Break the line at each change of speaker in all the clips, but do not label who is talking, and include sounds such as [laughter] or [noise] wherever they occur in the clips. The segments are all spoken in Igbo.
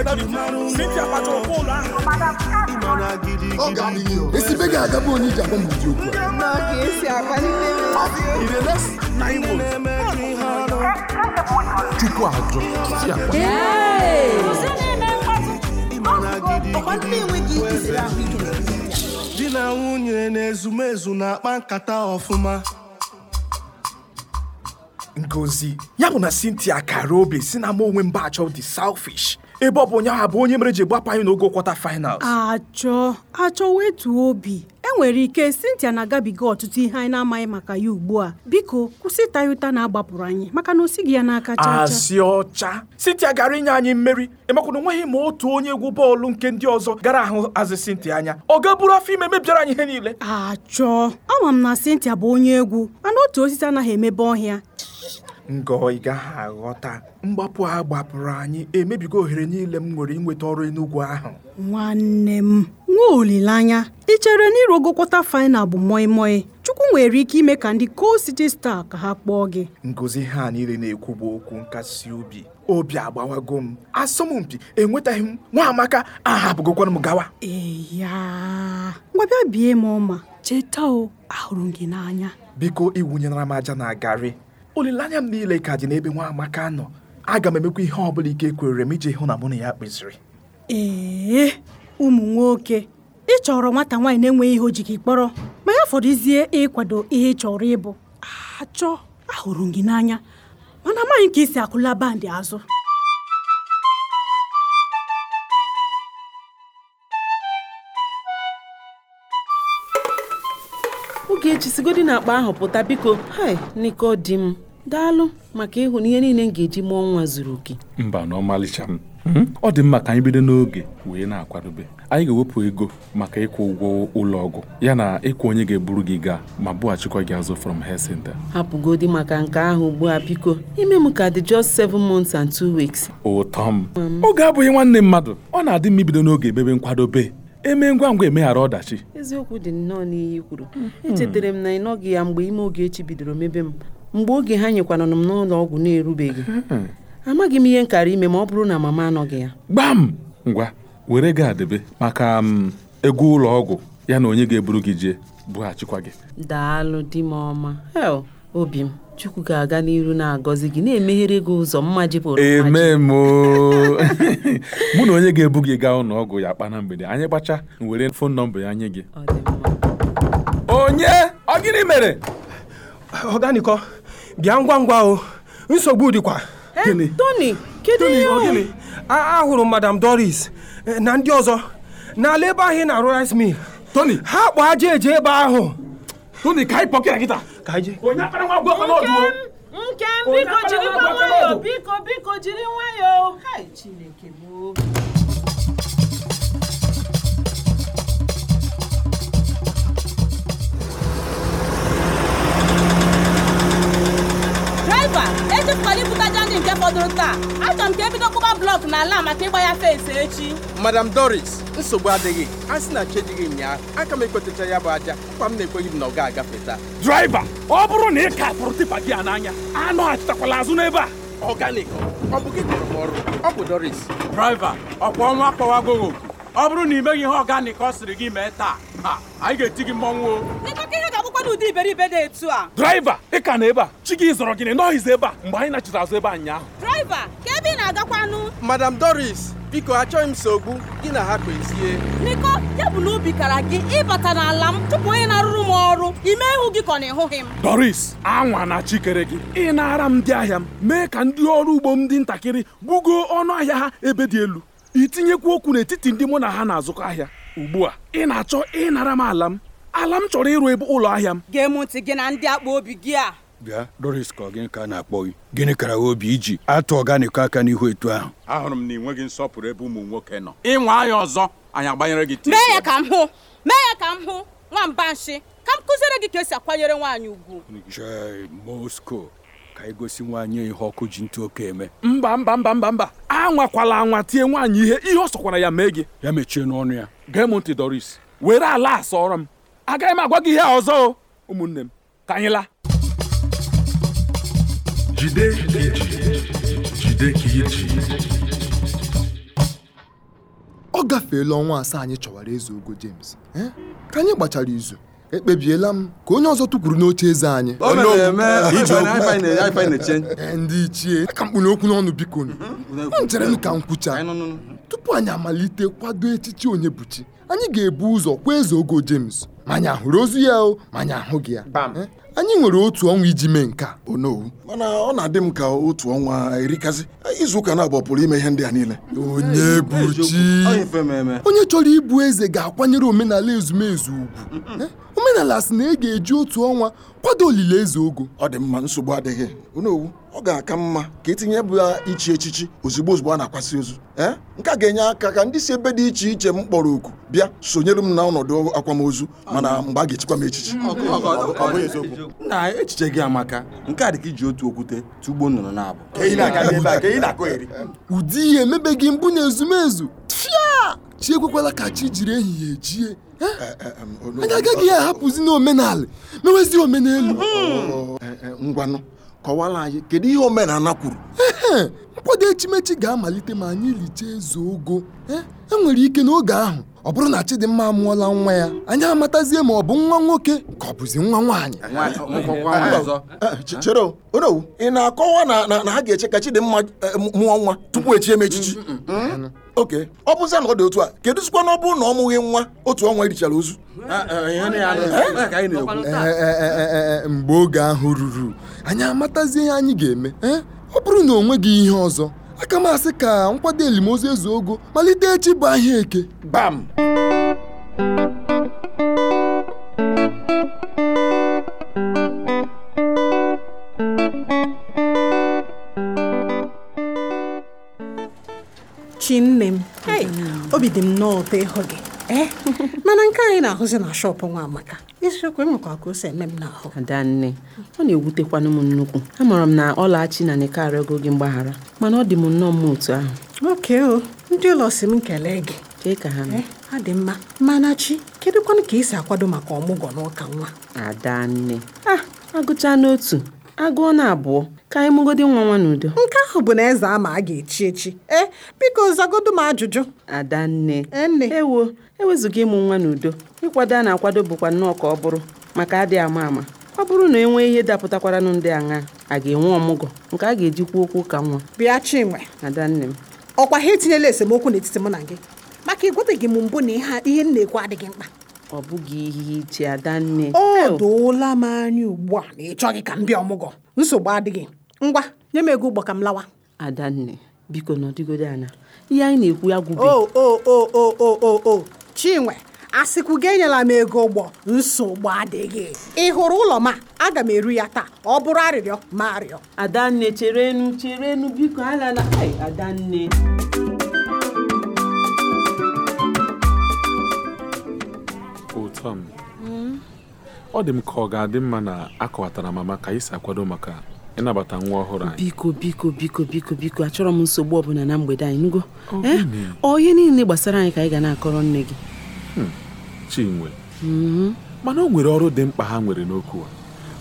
Cynthia Patrokwu ụlọ ahụ.
Ọ ga-adịghị o.
esibe ga-agabụ onye iji agwa m ụdị okwu a
ka esi akwalite
In the next nine months, Chukwu ajụ. Si akwa.
ọkwa ndị enweghị ike siri ahụ ike
di na nwunye na-ezumezu na-akpa nkata ọfụma
Ngozi, ya bụ na Cynthia kara obi si na ma onwe mba achọ dị selfish ebe ọ bụ onye ahụ bụ onye mere ji gbapụ anyị n'ogo kwọta finals.
Ah, achọ achọ wetuo obi enwere ike Cynthia na-agabiga ọtụtụ ihe anyị na-amaghị maka ya ugbu a biko kwụsị ịta ya ụta na agbapụrụ anyị maka na o sighị ya n'aka chaa chaa
Azị ọcha Cynthia gara inye anyị mmeri emekwụna onweghị ma otu onye egwu bọọlụ nke ndị ọzọ gara ahụ azị Cynthia anya ọ gaburu afọ ime mebiara anyị ihe niile
achọ ama m na Cynthia bụ onye egwu mana otu osisi anaghị emebe ọhịa
ngọ ị gaghị aghọta mgbapụ a gbapụrụ anyị emebigo ohere niile m nwere inweta ọrụ Enugu ahụ
nwanne m nwa olileanya ị chere na irogo kwọta final bụ moi moi chukwu nwere ike ime ka ndị Coast City Star ka ha kpọọ gị
ngozi ha niile na-ekwu bụ okwu nkasi obi obi agbawago m asọmpi enwetaghị m nwa amaka ahapụgokwana m gawa
eya ngwa bịa bie m ọma cheta o ahụrụ m gị n'anya
biko iwunyenara m aja na garị olileanya m niile ka dị n'ebe nwa amaka nọ aga m emekwa ihe ọbụla ike kwere m iji hụ na mụ na ya kpeziri
ee ụmụ nwoke ị chọrọ nwata nwaanyị na-enweghị ihe o ji gị kpọrọ ma ya fọdụzie ịkwado ihe ị chọrọ ịbụ achọ ahụrụ m gị n'anya mana amaghị m ka i si akụla bandị azụ
oge echisigodị na akpa ahụ pụta biko hai niko di m daalụ maka ịhụ na ihe niile m ga-eji mụọ nwa zuru oke
mba na ọmalịcha m ọ dị mma ka anyị bido n'oge wee na-akwadobe anyị ga-ewepụ ego maka ịkwụ ụgwọ ụlọ ọgwụ yana ịkwụ onye ga-eburu gị gaa ma bughachikwa gị azụ from health center
hapụgodi maka nke ahụ ugbu a biko ime m ka dị just 7 months and 2 weeks
ụtọ m oge abụghị nwanne mmadụ ọ na-adị mma ibido n'oge emebe nkwadobe eme ngwa ngwa emeghara ọdachi
eziokwu dị nnọọ n'ihe i kwuru echetara m na ị nọghị ya mgbe ime oge echi bidoro mebe m mgbe oge ha nyekwanụrụ m n'ụlọ ọgwụ na-erubeghị amaghị m ihe m kara ime ma ọ bụrụ na mama anọghị ya
gbam ngwa were gaa debe maka m ego ụlọ ọgwụ ya na onye ga-eburu gị jee bughachikwa gị
daalụ di m ọma hel obi m chukwu ga-aga n'iru na-agọzi gị na-emeghere gị ụzọ mma jipụrụ mma ji.
eme m oo. [laughs] mụ na onye ga-ebu gị gaa ụlọ ọgwụ ya kpa na mgbede anyị gbacha m were fon nọmba ya nye gị
Ọ dị mma.
onye ọ gịnị mere
Ọganịkọ, bịa ngwa ngwa o, nsogbu dịkwa.
Eh, Tony, kedu ihe
Ọ
ọ
gịnị? A- Ahụrụ m Madam Doris eh, na ndị ọzọ n'ala ebe ahụ ị na-arụ rice mill.
Tony,
Ha kpọ aja eje ebe ahụ.
Tony, ka anyị pọkịra kịta
Ka anyị jee.
onye akpara nwa agwa ọkpa n'ọdụ o.
nke m
Onye
biko
akpara
jiri
agwa ka
nwayọọ
mmadụ.
biko biko jiri nwayọọ Hai, Chineke m o.
draịva echefukwala ibute aja ndị nke fọdụrụ taa achọrọ m ka ebido kụba blọk n'ala a maka ịgba ya fesi echi
madam doris nsogbu adịghị a sị na chi ejighị ụnyaahụ aka m ekwetacha ya bụ aja kwa m na-ekweghị m na ọ ga-agafe taa
Draịva, ọ bụrụ na ị ka pụrụ tipa gị a n'anya, anụ achịtakwala azụ n'ebe a.
ọganik ọ bụ gị kpọrọ m ọrụ ọ bụ doris
Draịva, ọkwa ọnwa akpọwagoghị ọ bụrụ na ị meghị ihe ọganik ọ sịrị gị mee taa anyị ga-eti gị mmọnwụ o
n'ịkọka ihe ga-abụkwa n'ụdị iberibe dị etu a
draiva ị ka na ebe a chi gị zọrọ gị n'ọhịza ebe a mgbe anyị nachiri azụ ebe a ụnyaahụ
draịva ka ebe ị na-agakwanụ
madam doris biko achọghị m sogbu gị na ha kwezie
n'ịkọ ya bụ na obi kara gị ịbata n'ala m tupu onye na-arụrụ m ọrụ ime ihu gị ka ọ na-ịhụghị m
doris anwa na chikere gị ị na-ara m ndị ahịa m mee ka ndị ọrụ ugbo m dị ntakịrị gbugo ọnụ ahịa ha ebe dị elu itinyekwu okwu n'etiti ndị mụ na ha na-azụkọ ahịa ugbu a ị na-achọ ịnara m ala m ala m chọrọ ịrụ ebe ụlọ ahịa m
gee m ntị gị na ndị akpa obi gị a
bịa doris ka ọ gịnị ka a na-akpọ gị gịnị kara obi iji atụ ọganikọ aka n'ihu etu ahụ
ahụrụ m na ị nweghị nsọpụrụ ebe ụmụ nwoke nọ ịnwa anya ọzọ anyị agbanyere gị tii
mee ya ka m hụ mee ya ka m hụ nwamba nshi ka m kụziere gị ka esi akwanyere nwaanyị ugwu
jee mosko ka anyị gosi nwaanyị ihe ọkụ ji ntụ oke eme
mba mba mba mba mba anwakwala anwa tie nwaanyị ihe ihe ọ sọkwara ya mee gị
ya mechie n'ọnụ ya
gee m ntị doris were ala asọrọ m agaghị m agwa gị ihe a ọzọ o ụmụnne m ka anyị laa
jide ka iji jide ka iji
ọ gafeela ọnwa asaa anyị chọwara eze ogo james eh? ka anyị gbachara izu ekpebiela m ka onye ọzọ tụkwuru n'oche eze anyị
O mere eme,
Ije
ife
okwu.
na- ife na- ife na-eche.
Eh, ndị ichie aka mkpụrụ okwu n'ọnụ biko
Mhm.
nu m chere m ka m kwucha tupu anyị amalite kwado echichi onye bụchi anyị ga-ebu ụzọ kwa eze ogo james ma anyị ahụrụ ozu ya o ma anyị ahụghị ya Eh, anyị nwere otu ọnwa iji mee nke a
onowu mana ọ na-adị m ka otu ọnwa erikasị izu ụka na-abụ pụrụ ime ihe ndị a niile
onye bụchi onye chọrọ ịbụ eze ga-akwanyere omenala ezumezu ugwu Eh, omenala si na ị ga-eji otu ọnwa kwado olili eze ogo
ọ dị mma nsogbu adịghị onowu ọ ga-aka mma ka etinye ebe ya ichi echichi ozugbo ozugbo a na-akwasị ozu ee nke a ga-enye aka ka ndị si ebe dị iche iche m kpọrọ oku bịa sonyere m na ọnọdụ akwamozu mana mgbe a ga-echikwa m echichi
Ọ bụ eziokwu. Nna echiche gị amaka nke a dị ka iji otu okwute tụgbuo nnụnụ na-abụ ka ị na-aga n'ebe a ka ị na-akọgheri
ụdị ihe emebeghị mbụ na ezumezu tfia chi ekwekwala ka chi jiri ehihie ejie Eh, anyị agaghị ya ahapụzi n'omenala mewezi omenelu oh, Eh,
ngwanụ kọwara anyị kedu ihe omenala kwuru
Ehe, nkwado echimechi ga-amalite ma anyị lichaa eze ogo Eh, enwere ike n'oge ahụ ọ bụrụ na chidimma amụọla nwa ya anyị amatazie ma ọ bụ nwa nwoke ka ọ bụzi nwa nwaanyị Eh,
chere onowu ị na-akọwa na- na na ha ga-eche ka chidimma eh, m- mụọ nwa tupu echie m echichi oke ọ bụzia na ọ dị otu a kedu sikwa na ọ bụrụ na ọ mụghị nwa otu ọnwa erichara ozu Eh?
Ee, mgbe oge ahụ ruru anyị amatazie ihe anyị ga-eme
eh?
ee? ọ bụrụ na o nweghị ihe ọzọ aka m asị ka nkwado elimozu eze ogo malite echi bụ ahịa eke
bam
chinne m Hey, obi dị m nnọọ ụtọ ịhụ gị
Eh? [laughs]
ee mana nke anyị na-ahụzi na shọpụ nwa amaka eziokwu enwekwa ka o si eme m n'ahụ
adanne ọ na-ewutekwanụ m nnukwu amara m na ọlachi na nike arịọgo gị mgbaghara mana ọ dị m nnọọ mma otu ahụ
oke o ndị ụlọ si m kelee gị
kee ka ha mee
Eh, ha dị mma mana chi kedụkwanụ ka ị si akwado maka ọmụgwọ n'ụka nwa
adanne ah agụchaa n'otu agụọ na abụọ ka anyị mụgodi nwa nwa n'udo
nke ahụ bụ na eze ama a ga-echi echi ee biko zagodo m ajụjụ
adanne ewo ewezuga ịmụ nwa n'udo ịkwado a na-akwado bụkwa nnọọ ka ọ bụrụ maka adị ama ama ọ bụrụ na enwee ihe dapụtakwaranụ ndị aṅa a ga-enwe ọmụgọ nke a ga-ejikwa okwu ka nwa
bịa chinwe
adanne m
ọkwa ha etinyela esemokwu n'etiti mụ na gị maka ịgwabeghị m mbụ na ihe a- ihe m na-ekwu adịghị mkpa
ọ bụghị ihe iche adanne
ọ doola m anya ugbu a na ị chọghị ka m bịa ọmụgwọ nsogbu adịghị ngwa nye m ego ụgbọ ka m lawa
adanne biko nọdụgodo ana ihe anyị na-ekwu agwụbe
o o o o o o o chinwe asịkwu gị enyela m ego ụgbọ nsogbu adịghị ị hụrụ ụlọ m a aga m eru ya taa ọ bụrụ arịrịọ ma arịọ
adanne chere enu chere enu biko alala Ai, adanne
ụtọ m ọ dị m ka ọ ga-adị mma na akọwatara mama ka anyị si akwado maka ịnabata nwa ọhụrụ anyị
biko biko biko biko biko achọrọ m nsogbu ọbụla na mgbede anyị nugo
Ọ
Eh?
gịnị?
ọ ihe niile gbasara anyị ka anyị ga na-akọrọ nne gị
Hmm, chinwe
Mhm.
mana o nwere ọrụ dị mkpa ha nwere n'okwu a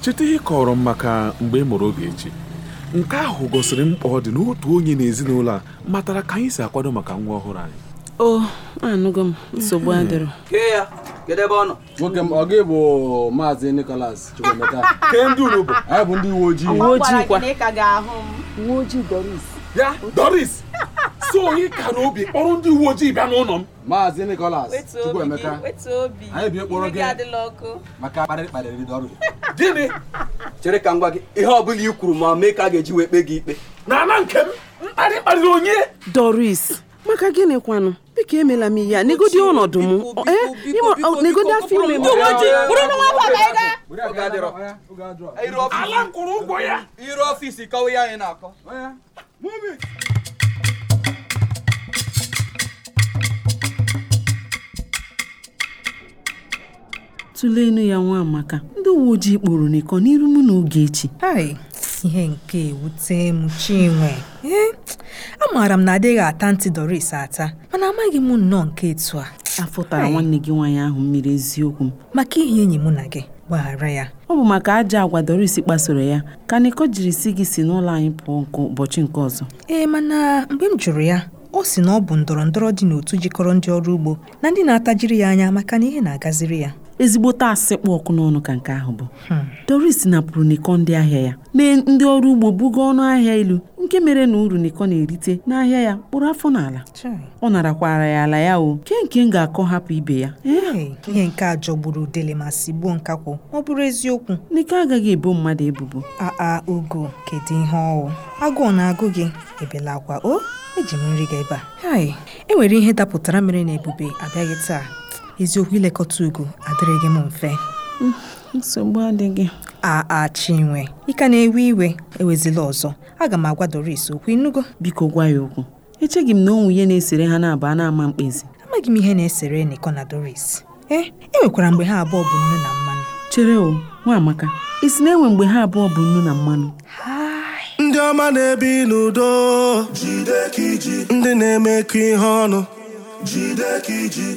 cheta ihe ị kọrọ m maka mgbe ị mụrụ oge echi nke ahụ gosiri mkpa ọ dị n'otu onye n'ezinụlọ a matara ka anyị si akwado maka nwa ọhụrụ anyị
o anụgo m nsogbu adịrọ
Kee ya, kedu ebe ọ nọ? Nwoke m, ọ gị bụ maazị Nicholas Chukwemeka. Kee ndị unu bụ? Anyị bụ ndị uwe ojii.
uwe ojii doris ya doris so onye ka na obi kpọrọ ndị uwe ojii bịa n'ụlọ m
Maazị Nicholas
Wetuo obi gị,
Chukwemeka.
wetuo obi.
Anyị bịa kpọrọ
Imi
gị.
adịla ọkụ.
Maka kparịrị kparịrị dị ọrụ gị.
gịnị
Chere ka m gwa gị, ihe ọ bụla i kwuru ma mee ka a ga-eji wee kpee gị ikpe.
na ana nke m mkparị kparịrị onye
doris maka gịnị kwanụ biko emela m ihe a negodi ọnọdụ m ọ- eh, ịma- ọ- negodi afọ ime m
Oge adịrọ. Iru ọfịs-
ala m kwụrụ ụgwọ ya
iru ọfịs kọwa ihe anyị na-akọ.
tụleenu ya nwa amaka ndị uwe ojii kpụrụ n'ịkọ n'iru mụ na oge echi
Hai, ihe nke ewute m chinwe ee Eh? amaara m na adịghị ata ntị doris ata mana amaghị m nnọọ nke etu a
afọ tara nwanne gị nwaanyị ahụ mmiri eziokwu m
maka ihe enyi mụ na gị gbaghara ya
ọ bụ maka ajọ agwa doris kpasoro ya ka nịkọ jiri si gị si n'ụlọ anyị pụọ nke ụbọchị nke ọzọ
ee mana mgbe m jụrụ ya o si na ọ bụ ndọrọ ndọrọ dị n'otu jikọrọ ndị ọrụ ugbo na ndị na-atajiri ya anya maka na ihe na-agaziri ya
ezigbote asị kpụ ọkụ n'ọnụ ka nke ahụ bụ doris napụrụ n'iko ndị ahịa ya mee ndị ọrụ ugbo bugo ọnụ ahịa ilu nke mere na uru n'iko na-erite n'ahịa ya kpụrụ afọ n'ala ọ narakwara ya ala ya o ke nke m ga-akọ hapụ ibe ya Eh,
Ee, ihe nke a jọgburu udele ma sigbuo nkakwụ ọ bụrụ eziokwu
n'ike agaghị ebo mmadụ ebubo
aa ogo kedu ihe ọwụ agụụ na-agụ gị ebelakwa o eji m nri gị ebe a hai e nwere ihe dapụtara mere na ebube abịaghị taa eziokwu ilekọta ugo adịrịghị m mfe
nsogbu adịghị
aa chinwe ị ka na-ewe iwe ewezila ọzọ aga m agwa doris okwu inugo
biko gwa ya okwu echeghị m na onwe ihe na-esere ha na-aba na-ama mkpezi
amaghị m ihe na-esere niko na doris e enwekwara mgbe ha abụọ bụ nnu na mmanụ
chere o nwa amaka isi na enwe mgbe ha abụọ bụ nnu na mmanụ
ndị ọma na-ebi n'udo ndị na-emekọ ihe ọnụ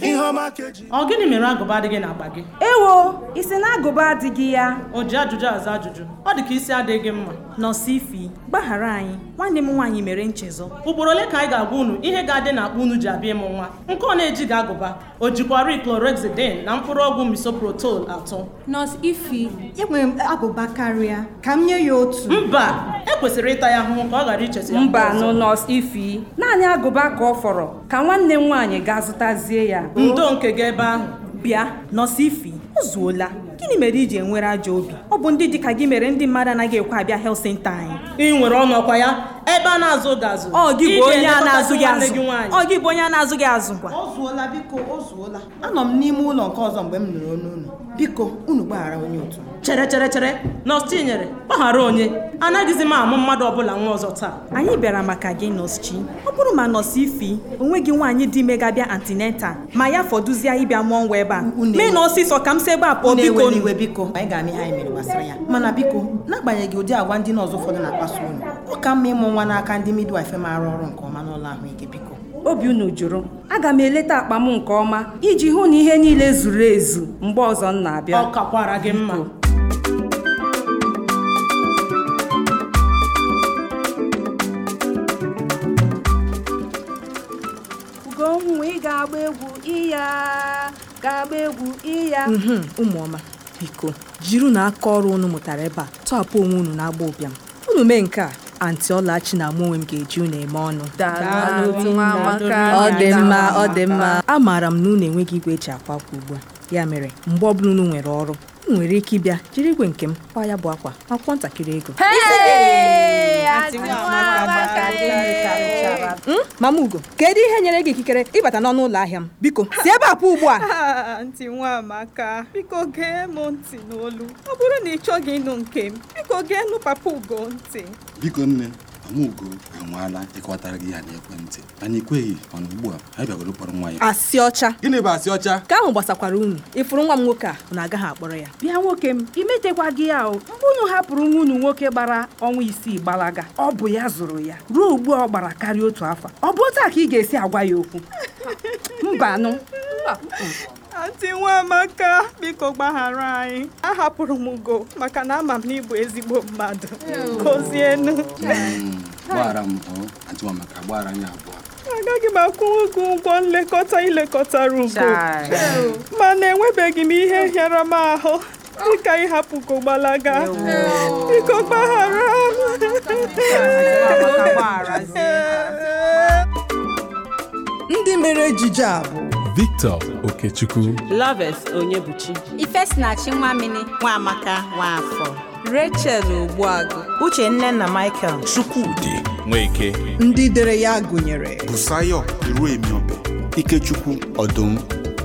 ihe ọma keji
ọ gịnị mere agụba adịghị n'akpa gị
ewo isi na agụba adịghị ya
o ji ajụjụ aza ajụjụ ọ dị ka isi adịghị mma nọsi ifi
gbaghara anyị nwanne m nwaanyị mere nchezọ
ugboro ole ka anyị ga-agwa unu ihe ga-adị n'akpa unu ji abịa ịmụ nwa nke ọ na-ejighị agụba o jikwara chlorhexidine na mkpụrụ ọgwụ misoprotol atọ
nọọsụ ifi enwere m agụba karịa ka m nye ya otu
mba ekwesịrị ịta ya ahụhụ ka ọ ghara icheta ya mgbe
mba
ọzọ.
nụ nọọsụ ifi naanị agụba ka ọ fọrọ ka nwanne m nwaanyị gaa zụtazie ya
ndo nke gị ebe ahụ
bịa nọọsụ ifi o zuola gịnị mere iji enwere ajọ obi ọ bụ ndị dịka gị mere ndị mmadụ anaghị ekwe abịa helt senta anyị
ị nwere ọnụ ọkwa ya ebe a na-azụ gị azụ
ọ gị
Ị
bụ onye a
ga-elekọta
na-azụ gị
nwanne
azụ
gị nwaanyị.
ọ gị bụ onye a na-azụ gị azụ gwa
O zuola biko o zuola anọ m n'ime ụlọ nke ọzọ mgbe m nụrụ onu unu biko unu gbaghara onye otu m.
chere chere chere nọọsụ tinyere gbaghara onye anaghịzi m amụ mmadụ ọbụla nwa ọzọ taa
anyị bịara maka gị nọọsụ chi ọ bụrụ ma nọọsụ ifi onweghị nwaanyị dị ime ga-abịa antineta ma ya fọdụzie ịbịa mụọ nwa ebe a
unu-
mee na ọsịsọ ka m si ebe a pụọ
Unu
biko
ewela iwe biko anyị ga-ama ihe anyị mere gbasara ya mana biko n'agbanyeghị ụdị agwa ndị nọọsụ ụfọdụ na-akpaso unu ọ ka mma ịmụ nwa n'aka ndị midwife maara ọrụ nke ọma n'ụlọ ahụike biko
obi unu jụrụ aga m eleta akpa m nke ọma iji hụ na ihe niile zuru ezu mgbe ọzọ m na-abịa
ọ kakwara gị mma
ugonwa ị ga-agba egwu iya ga-agba egwu iya
mhm ụmụọma biko jiri na aka ọrụ unu mụtara ebe a tọhapụ onwe unu n'agba ụbịam unu mee nke a anti ọlachi na mụ onwe m ga-eji unu eme ọnụ
Daalụ, nwa amaka.
ọ dị mma
Daalụ,
ọ dị mma
amaka.
amaara m na unu enweghị igwe eji akwa akwa ugbu a ya mere mgbe ọbụla unu nwere ọrụ unu nwere ike ịbịa jiri igwe nke m kwa ya bụ akwa ma kwụọ ntakịrị ego
Hey, Ati
Ati nwa amaka
Nwamaka,
gịnị ka m chara?
Mm, mama ugo kedu ihe nyere gị ikikere ịbata n'ọnụ ụlọ ahịa m biko si ebe a pụọ ugbu a
Ah, ntị nwa amaka biko gee m ntị n'olu ọ bụrụ na ị chọghị ịnụ nke m biko gee nụ papa ugo ntị
biko nne amugo anwaala ịkọtara gị ya n'ekwentị anyị ekweghị mana ugbu a anyị bịagoro kpọrọ nwa ya
asị ọcha
gịnị bụ asị ọcha
ka ahụ gbasakwara unu ịfụrụ nwa m nwoke a unu agaghị akpọrọ ya
bịa nwoke m imetekwa gị ya o mgbe unu hapụrụ nwa unu nwoke gbara ọnwa isii gbalaga ọ bụ ya zụrụ ya ruo ugbu a ọ gbara karịa otu afọ ọ bụ otu a ka ị ga-esi agwa ya
[laughs]
okwu mbanụ
Ntị nwa amaka biko gbaghara anyị ahapụrụ m ugo maka na ama m na ịbụ ezigbo mmadụ gozienu
gbaghara m hụ ajụwa maka gbaghara anyị abụọ
agaghị m akwụnwu gị ụgwọ nlekọta ilekọtara ugo
Chai.
mana enwebeghị m ihe hịara m ahụ dịka ịhapụ ugo gbalaga biko gbaghara m
ndị mere ejije a bụ
victor okechukwu
Loves Onyebuchi
Ifesinachi Nwamini Nwamaka Nwafọ
Rachel Ogbuagụ Uchenna na Michael
chukwudị nweke
ndị dere ya gụnyere
bụsayo ruemiobe ikechukwu ọdụm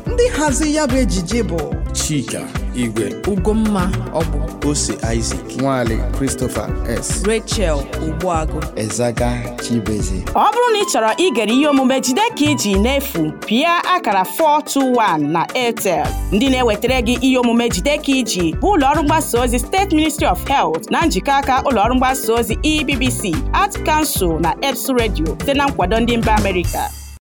ndị hazi ya bụ ejije bụ
chika igwe
ugomma ọbụ
ose isaac
nwale christopher s
Rachel Ogbuagụ
ezaga chibeze
ọ bụrụ na ị chọrọ igere ihe omume jide ka iji n'efu pịa akara 421 na airtel ndị na-ewetara gị ihe omume jide ka iji bụ ụlọọrụ mgbasa ozi steeti ministry of health na njikọ aka ụlọọrụ E mgbasa ozi ebbc art kansụl na eps redio site na nkwado ndị mba amerịka